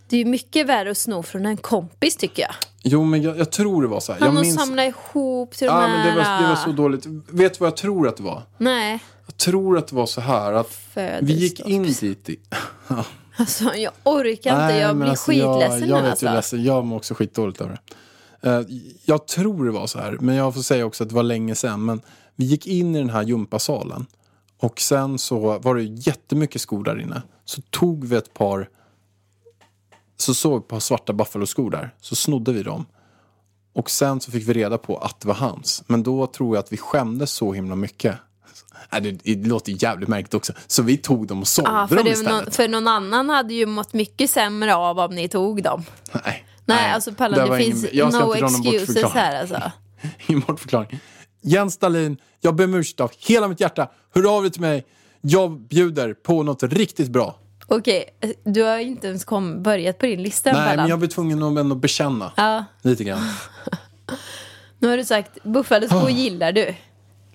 S3: Det är ju mycket värre att sno från en kompis tycker jag.
S2: Jo, men jag, jag tror det var så här.
S3: Han
S2: jag
S3: har samlat ihop till de
S2: Ja,
S3: här.
S2: men det var, det var så dåligt. Vet du vad jag tror att det var?
S3: Nej,
S2: Jag tror att det var så här att vi gick in dit. i-
S3: alltså jag orkar inte. jag
S2: men
S3: blir skitledsen
S2: jag, jag
S3: nu
S2: vet,
S3: alltså.
S2: jag, är ledsen. jag mår också skitdåligt över det. Eh, jag tror det var så här, men jag får säga också att det var länge sedan. Men vi gick in i den här gympasalen och sen så var det jättemycket skor där inne. Så tog vi ett par, så såg vi ett par svarta Buffalo-skor där, så snodde vi dem. Och sen så fick vi reda på att det var hans. Men då tror jag att vi skämdes så himla mycket. (laughs) Alltså. Nej, det, det låter jävligt märkligt också. Så vi tog dem och sålde
S3: Ja, för,
S2: dem
S3: det,
S2: istället.
S3: någon, för någon annan hade ju mått mycket sämre av om ni tog dem.
S2: Nej,
S3: Nej, alltså
S2: Där
S3: Pallan,
S2: var
S3: det
S2: ingen-
S3: finns
S2: jag ska
S3: no
S2: inte dra någon
S3: excuses
S2: bortförklaring.
S3: här alltså.
S2: (laughs) Ingen bortförklaring. Jens Dahlin, jag ber om ursäkt av hela mitt hjärta. Hör av dig till mig. Jag bjuder på något riktigt bra.
S3: Okej, eh, du har ju inte ens kom, börjat på din lista
S2: Nej, men
S3: Pallan.
S2: jag blir tvungen att ändå bekänna.
S3: Ja,
S2: Lite grann.
S3: nu har du sagt Buffalosbo gillar du.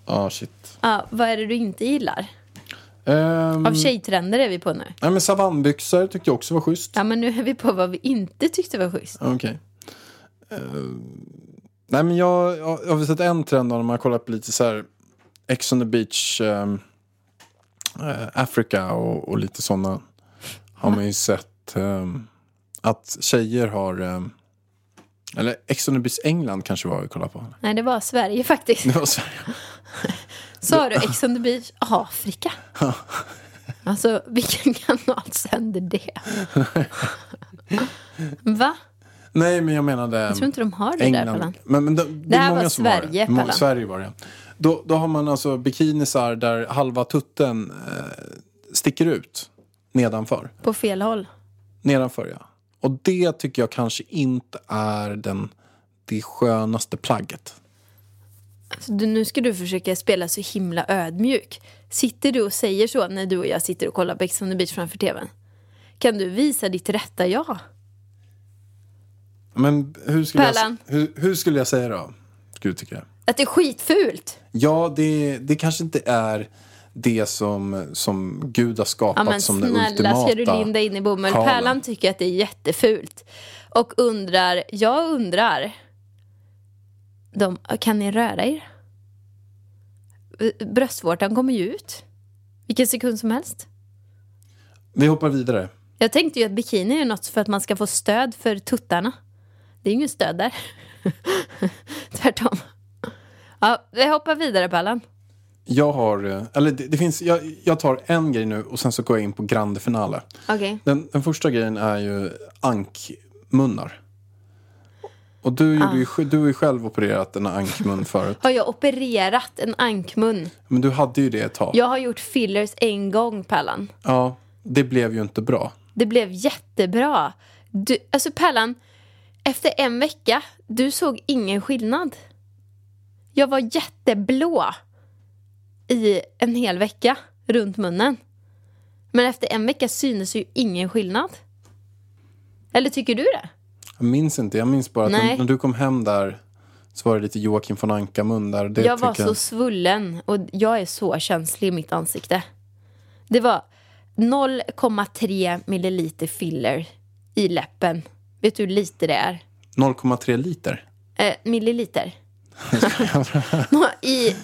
S2: Ja, Ah, shit.
S3: Ja, vad är det du inte gillar?
S2: Ehm,
S3: Av tjejtrender är vi på nu.
S2: nej, men savannbyxor tyckte jag också var schysst.
S3: Ja, men nu är vi på vad vi inte tyckte var schysst.
S2: Okej. Ehm, nej, men jag, jag, jag har väl sett en trend av när man har kollat på lite så här Ex on the beach, um, Africa och, och lite sådana. Har man ju sett ehm, att tjejer har, ehm, eller Ex on the beach England kanske var vi kollade på.
S3: Nej, det var Sverige faktiskt.
S2: Det var Sverige.
S3: Sa du Ex on the beach Afrika? Alltså, vilken kanal sänder det? Va?
S2: Nej, men jag menade... ehm,
S3: Jag tror inte de har det där
S2: England.
S3: Pallan.
S2: Men, men det, det är
S3: här
S2: många
S3: var
S2: som
S3: Sverige,
S2: har det. Må-
S3: Pallan.
S2: Sverige var det. Då, då har man alltså bikinisar där halva tutten eh, sticker ut nedanför.
S3: På fel håll.
S2: Nedanför, ja. Och det tycker jag kanske inte är den, det skönaste plagget.
S3: Så Alltså, du, nu ska du försöka spela så himla ödmjuk. Sitter du och säger så när du och jag sitter och kollar på Ex on the beach framför tvn? Kan du visa ditt rätta jag?
S2: Men hur skulle, jag,
S3: Pärlan.
S2: hur, hur skulle jag säga då? Gud, tycker jag.
S3: Att det är skitfult?
S2: Ja, det, det kanske inte är det som, som Gud har skapat
S3: Ja, men
S2: som det
S3: snälla,
S2: ultimata.
S3: ska du linda in i bomull?
S2: sjalen.
S3: Pärlan tycker att det är jättefult. Och undrar, jag undrar. De, kan ni röra er? Bröstvårtan kommer ju ut. Vilken sekund som helst.
S2: Vi hoppar vidare.
S3: Jag tänkte ju att bikini är något för att man ska få stöd för tuttarna. Det är ju ingen stöd där. (laughs) Tvärtom. Ja, vi hoppar vidare Pallan.
S2: Jag har, eh, eller det, det finns, jag, jag tar en grej nu och sen så går jag in på grande finale.
S3: Okej.
S2: Den, den första grejen är ju ankmunnar. Och du, gjorde
S3: Ah.
S2: ju, sj- du har ju själv opererat en ankmun förut.
S3: Har jag opererat en ankmun?
S2: Men du hade ju det ett tag.
S3: Jag har gjort fillers en gång Pallan.
S2: Ja, det blev ju inte bra.
S3: Det blev jättebra. Du, alltså Pärlan, efter en vecka, du såg ingen skillnad. Jag var jätteblå i en hel vecka runt munnen. Men efter en vecka synes ju ingen skillnad. Eller tycker du det?
S2: Jag minns inte, jag minns bara att
S3: Nej.
S2: när, när du kom hem där så var det lite Joakim von Anka-mun där. Det
S3: jag var
S2: tycker
S3: så svullen och jag är så känslig i mitt ansikte. Det var 0,3 milliliter filler i läppen. Vet du hur lite det är?
S2: 0,3 liter.
S3: eh,
S2: (laughs)
S3: milliliter. Nå, I,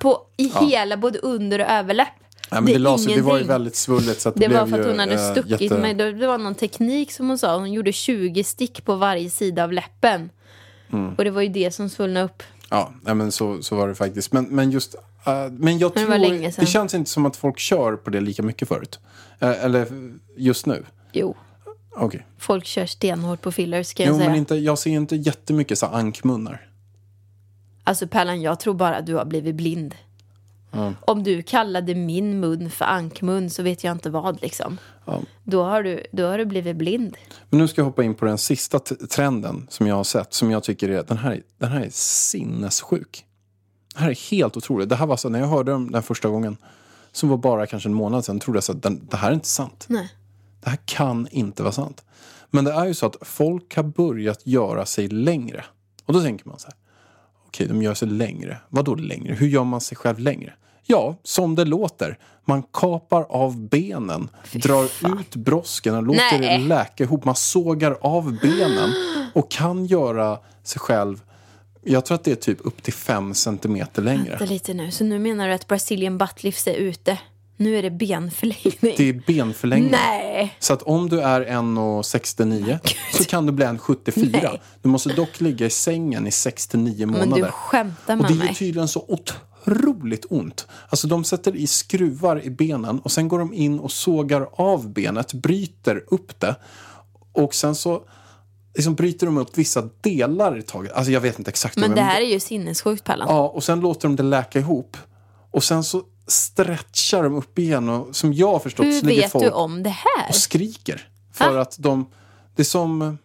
S3: på, i hela, både under och överläpp.
S2: Ja, men det,
S3: är
S2: la sig, det var ju
S3: ingenting.
S2: väldigt svullet. Så att det,
S3: Det var
S2: blev
S3: för att
S2: ju,
S3: hon hade
S2: eh,
S3: stuckit
S2: jätte-
S3: mig. Det det var någon teknik som hon sa. Hon gjorde 20 stick på varje sida av läppen.
S2: Mm.
S3: Och det var ju det som svullnade upp.
S2: Ja, nej, men så, så var det faktiskt. Men, men just... eh, men jag
S3: Men det
S2: tror...
S3: var länge sedan.
S2: det känns inte som att folk kör på det lika mycket förut. Eh, eller just nu.
S3: Jo,
S2: Okej.
S3: folk kör stenhårt på fillers kan
S2: Jo,
S3: jag säga.
S2: men inte, jag ser inte jättemycket så här ankmunnar.
S3: Alltså Pärlan, jag tror bara att du har blivit blind. Om du kallade min mun för ankmun så vet jag inte vad liksom. Då, har du, då har du blivit blind.
S2: Men nu ska jag hoppa in på den sista t- trenden som jag har sett. Som jag tycker är... Den här, den här är sinnessjuk. Det här är helt otroligt. Det här var så när jag hörde dem den första gången. Som var bara kanske en månad sedan. Trodde jag så att den, det här är inte sant.
S3: Nej.
S2: Det här kan inte vara sant. Men det är ju så att folk har börjat göra sig längre. Och då tänker man så här. Okej, de gör sig längre. Vad då längre? Hur gör man sig själv längre? Ja, som det låter. Man kapar av benen, drar ut brosken och låter
S3: Nej.
S2: det läka ihop. Man sågar av benen och kan göra sig själv jag tror att det är typ upp till fem centimeter längre.
S3: Vänta lite nu, så nu menar du att Brazilian buttlifts är ute? Nu är det benförlängning?
S2: Det är benförlängning.
S3: Nej!
S2: Så att om du är 1,69 så kan du bli 1,74.
S3: Nej.
S2: Du måste dock ligga i sängen i 69 månader.
S3: Men du skämtar
S2: Och
S3: med
S2: det är typ- ju
S3: mig.
S2: tydligen så otroligt ont. Alltså de sätter i skruvar i benen och sen går de in och sågar av benet, bryter upp det. Och sen så liksom bryter de upp vissa delar i taget. Alltså jag vet inte exakt. hur,
S3: Men det här är ju sinnessjukt Pallan.
S2: Ja, och sen låter de det läka ihop. Och sen så stretchar de upp igen och som jag har förstått
S3: Hur
S2: så ligger
S3: vet
S2: folk
S3: du om det här?
S2: och skriker. För
S3: Va?
S2: att de, det är som,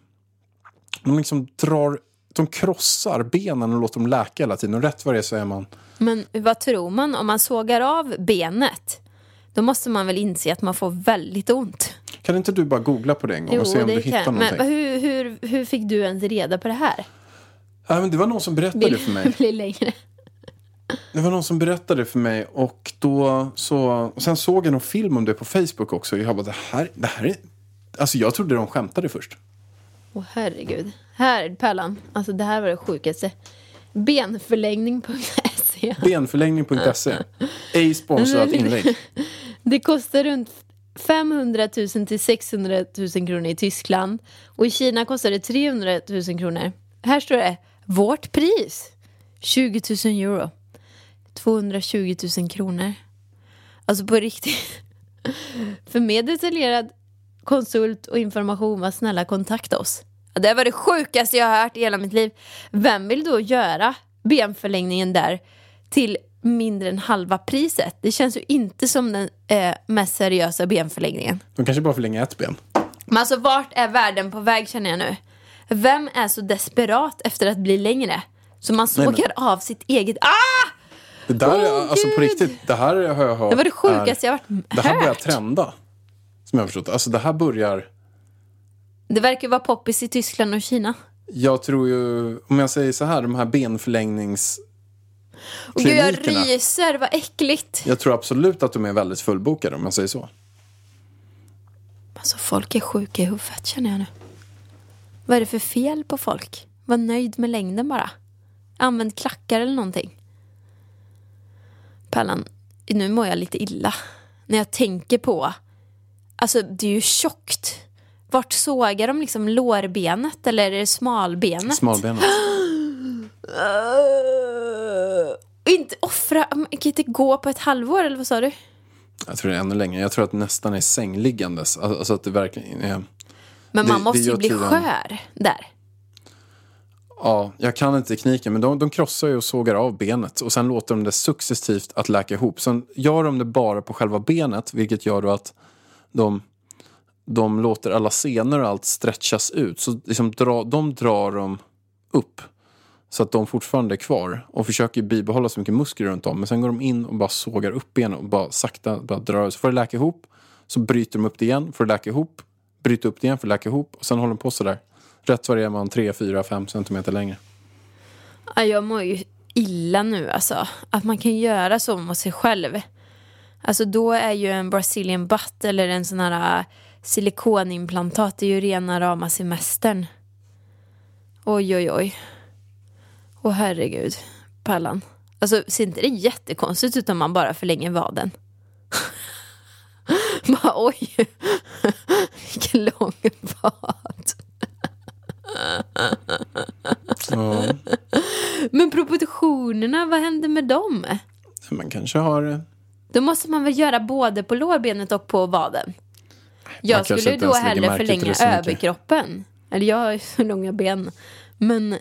S2: de liksom drar, de krossar benen och låter dem läka hela tiden. Och rätt vad det är så är man,
S3: Men vad tror man? Om man sågar av benet, då måste man väl inse att man får väldigt ont?
S2: kan inte du bara googla på det en gång och se om du hittar
S3: jag.
S2: någonting?
S3: Men hur, hur, hur fick du ens reda på det här?
S2: Nej, men det var någon som berättade det för
S3: (laughs)
S2: mig.
S3: blir längre.
S2: Det var någon som berättade för mig och då så, och sen såg jag någon film om det på Facebook också. Och jag bara, det här, det här är, alltså jag trodde de skämtade först.
S3: Åh herregud. Här, Pärlan. Alltså det här var det sjukaste. Benförlängning.se.
S2: Benförlängning.se, ej sponsrat
S3: Mm.
S2: inlägg.
S3: Det kostar runt 500 000 till 600 000 kronor i Tyskland. Och i Kina kostar det 300 000 kronor. Här står det. Vårt pris. 20 000 euro. 220 000 kronor. Alltså på riktigt. (laughs) För mer detaljerad konsult och information var snälla kontakta oss. Ja, Det var det sjukaste jag har hört i hela mitt liv. Vem vill då göra benförlängningen där till mindre än halva priset? Det känns ju inte som den eh, mest seriösa benförlängningen.
S2: De kanske bara förlänger ett ben.
S3: Men alltså vart är världen på väg känner jag nu? Vem är så desperat efter att bli längre? Så man
S2: Nej, men-
S3: sågar av sitt eget... Ah!
S2: Det där, är,
S3: Åh,
S2: alltså på
S3: Gud!
S2: riktigt, det här har jag hört.
S3: Det var det sjukaste
S2: är-
S3: jag har varit
S2: Det här börjar
S3: hört.
S2: trenda. Som jag har förstått. Alltså det här börjar,
S3: Det verkar vara poppis i Tyskland och Kina.
S2: jag tror ju, om jag säger så här, de här benförlängnings...
S3: Och gud, jag
S2: Klinikerna.
S3: ryser, vad äckligt.
S2: Jag tror absolut att de är väldigt fullbokade om jag säger så.
S3: Alltså folk är sjuka i huvudet känner jag nu. Vad är det för fel på folk? Var nöjd med längden bara. Använd klackar eller någonting. Pallan, nu mår jag lite illa. När jag tänker på. Alltså det är ju tjockt. Vart sågar de liksom lårbenet eller är det smalbenet?
S2: Smalbenet.
S3: Öh. inte offra, kan inte gå på ett halvår eller vad sa du?
S2: Jag tror det är ännu längre. Jag tror att det nästan är sängliggandes. Alltså alltså att det verkligen är...
S3: Men
S2: Det-
S3: man
S2: det
S3: måste ju
S2: gör
S3: bli
S2: tydligen-
S3: skör där.
S2: Ja, jag kan inte tekniken, men de, de krossar ju och sågar av benet och sen låter de det successivt att läka ihop. Sen gör de det bara på själva benet, vilket gör då att de, de låter alla senor och allt stretchas ut. Så liksom dra, de drar dem upp så att de fortfarande är kvar och försöker bibehålla så mycket muskler runt om. Men sen går de in och bara sågar upp benen och bara sakta bara drar. Så får det läka ihop, så bryter de upp det igen, får det läka ihop, bryter upp det igen, får det läka ihop och sen håller de på sådär. Rätt vad det är man 3, 4, 5 centimeter längre.
S3: Ja, jag mår ju illa nu alltså. Att man kan göra så mot sig själv. Alltså då är ju en Brazilian butt eller en sån här äh, silikonimplantat, det är ju rena rama semestern. Oj, oj, oj. Åh herregud, Pallan. Alltså ser inte det jättekonstigt ut om man bara förlänger vaden? (laughs) bara oj, (laughs) vilken lång vad.
S2: Ja,
S3: Men proportionerna, vad händer med dem?
S2: man kanske har... eh,
S3: Då måste man väl göra både på lårbenet och på vaden? Jag
S2: kanske
S3: skulle
S2: inte
S3: då
S2: ens lägger
S3: hellre
S2: märke till
S3: förlänga
S2: det så mycket.
S3: överkroppen. Eller jag har ju så långa ben. Men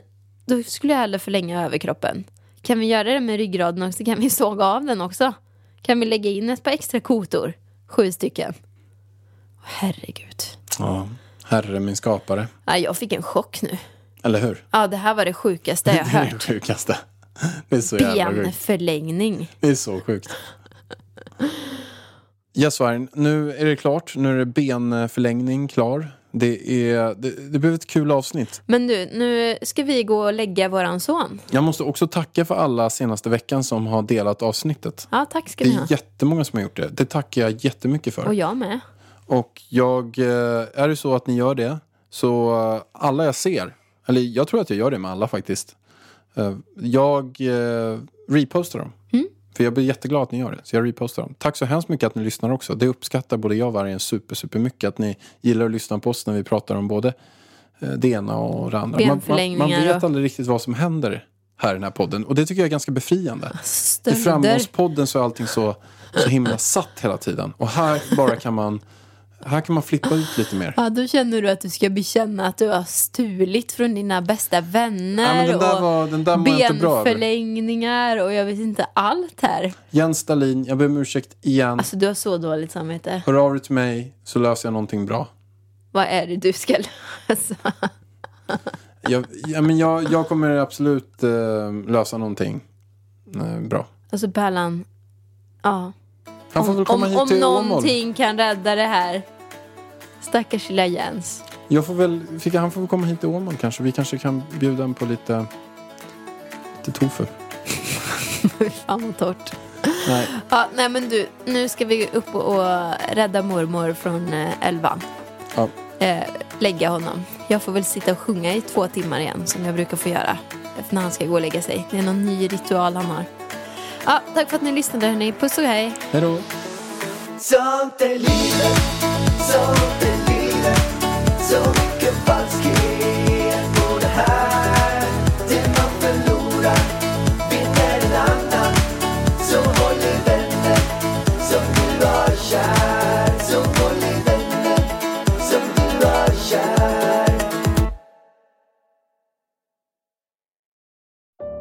S3: då skulle jag hellre förlänga överkroppen. Kan vi göra det med ryggraden också? Kan vi såga av den också? Kan vi lägga in ett par extra kotor? Sju stycken. Herregud.
S2: Ja, herre min skapare.
S3: Ja, jag fick en chock nu.
S2: Eller hur?
S3: Ja, det här var det sjukaste jag
S2: Det är
S3: hört.
S2: det sjukaste. Det är så jävla sjukt.
S3: Benförlängning.
S2: Det är så sjukt. Yes, Varin, nu är det klart. Nu är det benförlängning klar. Det, är, det, det blev ett kul avsnitt.
S3: Men du, nu ska vi gå och lägga våran son.
S2: Jag måste också tacka för alla senaste veckan som har delat avsnittet.
S3: Ja, tack ska
S2: Det
S3: ni ha.
S2: är jättemånga som har gjort det. Det tackar jag jättemycket för.
S3: Och jag med.
S2: Och jag, eh, är det så att ni gör det, så eh, alla jag ser, eller jag tror att jag gör det med alla faktiskt, eh, jag eh, repostar dem.
S3: Mm.
S2: För jag blir jätteglad att ni gör det, så jag repostar dem. Tack så hemskt mycket att ni lyssnar också. Det uppskattar både jag och Vargen super, super mycket att ni gillar att lyssna på oss när vi pratar om både eh, det ena och det andra. Man, man, man
S3: Benförlängningar
S2: vet
S3: och-
S2: aldrig riktigt vad som händer här i den här podden. Och det tycker jag är ganska befriande. I
S3: Stölder.
S2: Framgångspodden så är allting så, så himla satt hela tiden. Och här bara kan man Här kan man flippa ut lite mer.
S3: Ja, då känner du att du ska bekänna att du har stulit från dina bästa
S2: Ja,
S3: vänner
S2: men den där
S3: och
S2: var- den där mår jag inte bra över.
S3: benförlängningar och jag vet inte allt här.
S2: Jens Stalin, jag ber om ursäkt igen.
S3: Alltså du har så dåligt samvete.
S2: Hör av dig till mig så löser jag någonting bra.
S3: Vad är det du ska (laughs) lösa?
S2: Jag, ja, men jag, jag kommer absolut eh, lösa någonting eh, bra.
S3: Alltså Pärlan, ja.
S2: Han får väl komma
S3: om
S2: hit
S3: om
S2: till Åmål.
S3: någonting kan rädda det här. Stackars lilla Jens. (laughs)
S2: Jag får väl, fick, han får väl komma hit till Åmål kanske. Vi kanske kan bjuda honom på lite, lite tofu.
S3: Fan vad torrt.
S2: Nej.
S3: Ja, nej men du, nu ska vi upp och och rädda mormor från eh, elvan. (gasps)
S2: Ja.
S3: Eh, lägga honom. Jag får väl sitta och sjunga i två timmar igen som jag brukar få göra när han ska gå och lägga sig. Det är någon ny ritual han har. Ja, tack för att ni lyssnade hörni. Puss och hej.
S2: Hej då.
S1: Sånt är livet, sånt är livet Så mycket falskhet på det här Det man förlorar vinner en annan Så håll i vänner som du har kär Så håll i vänner som du har kär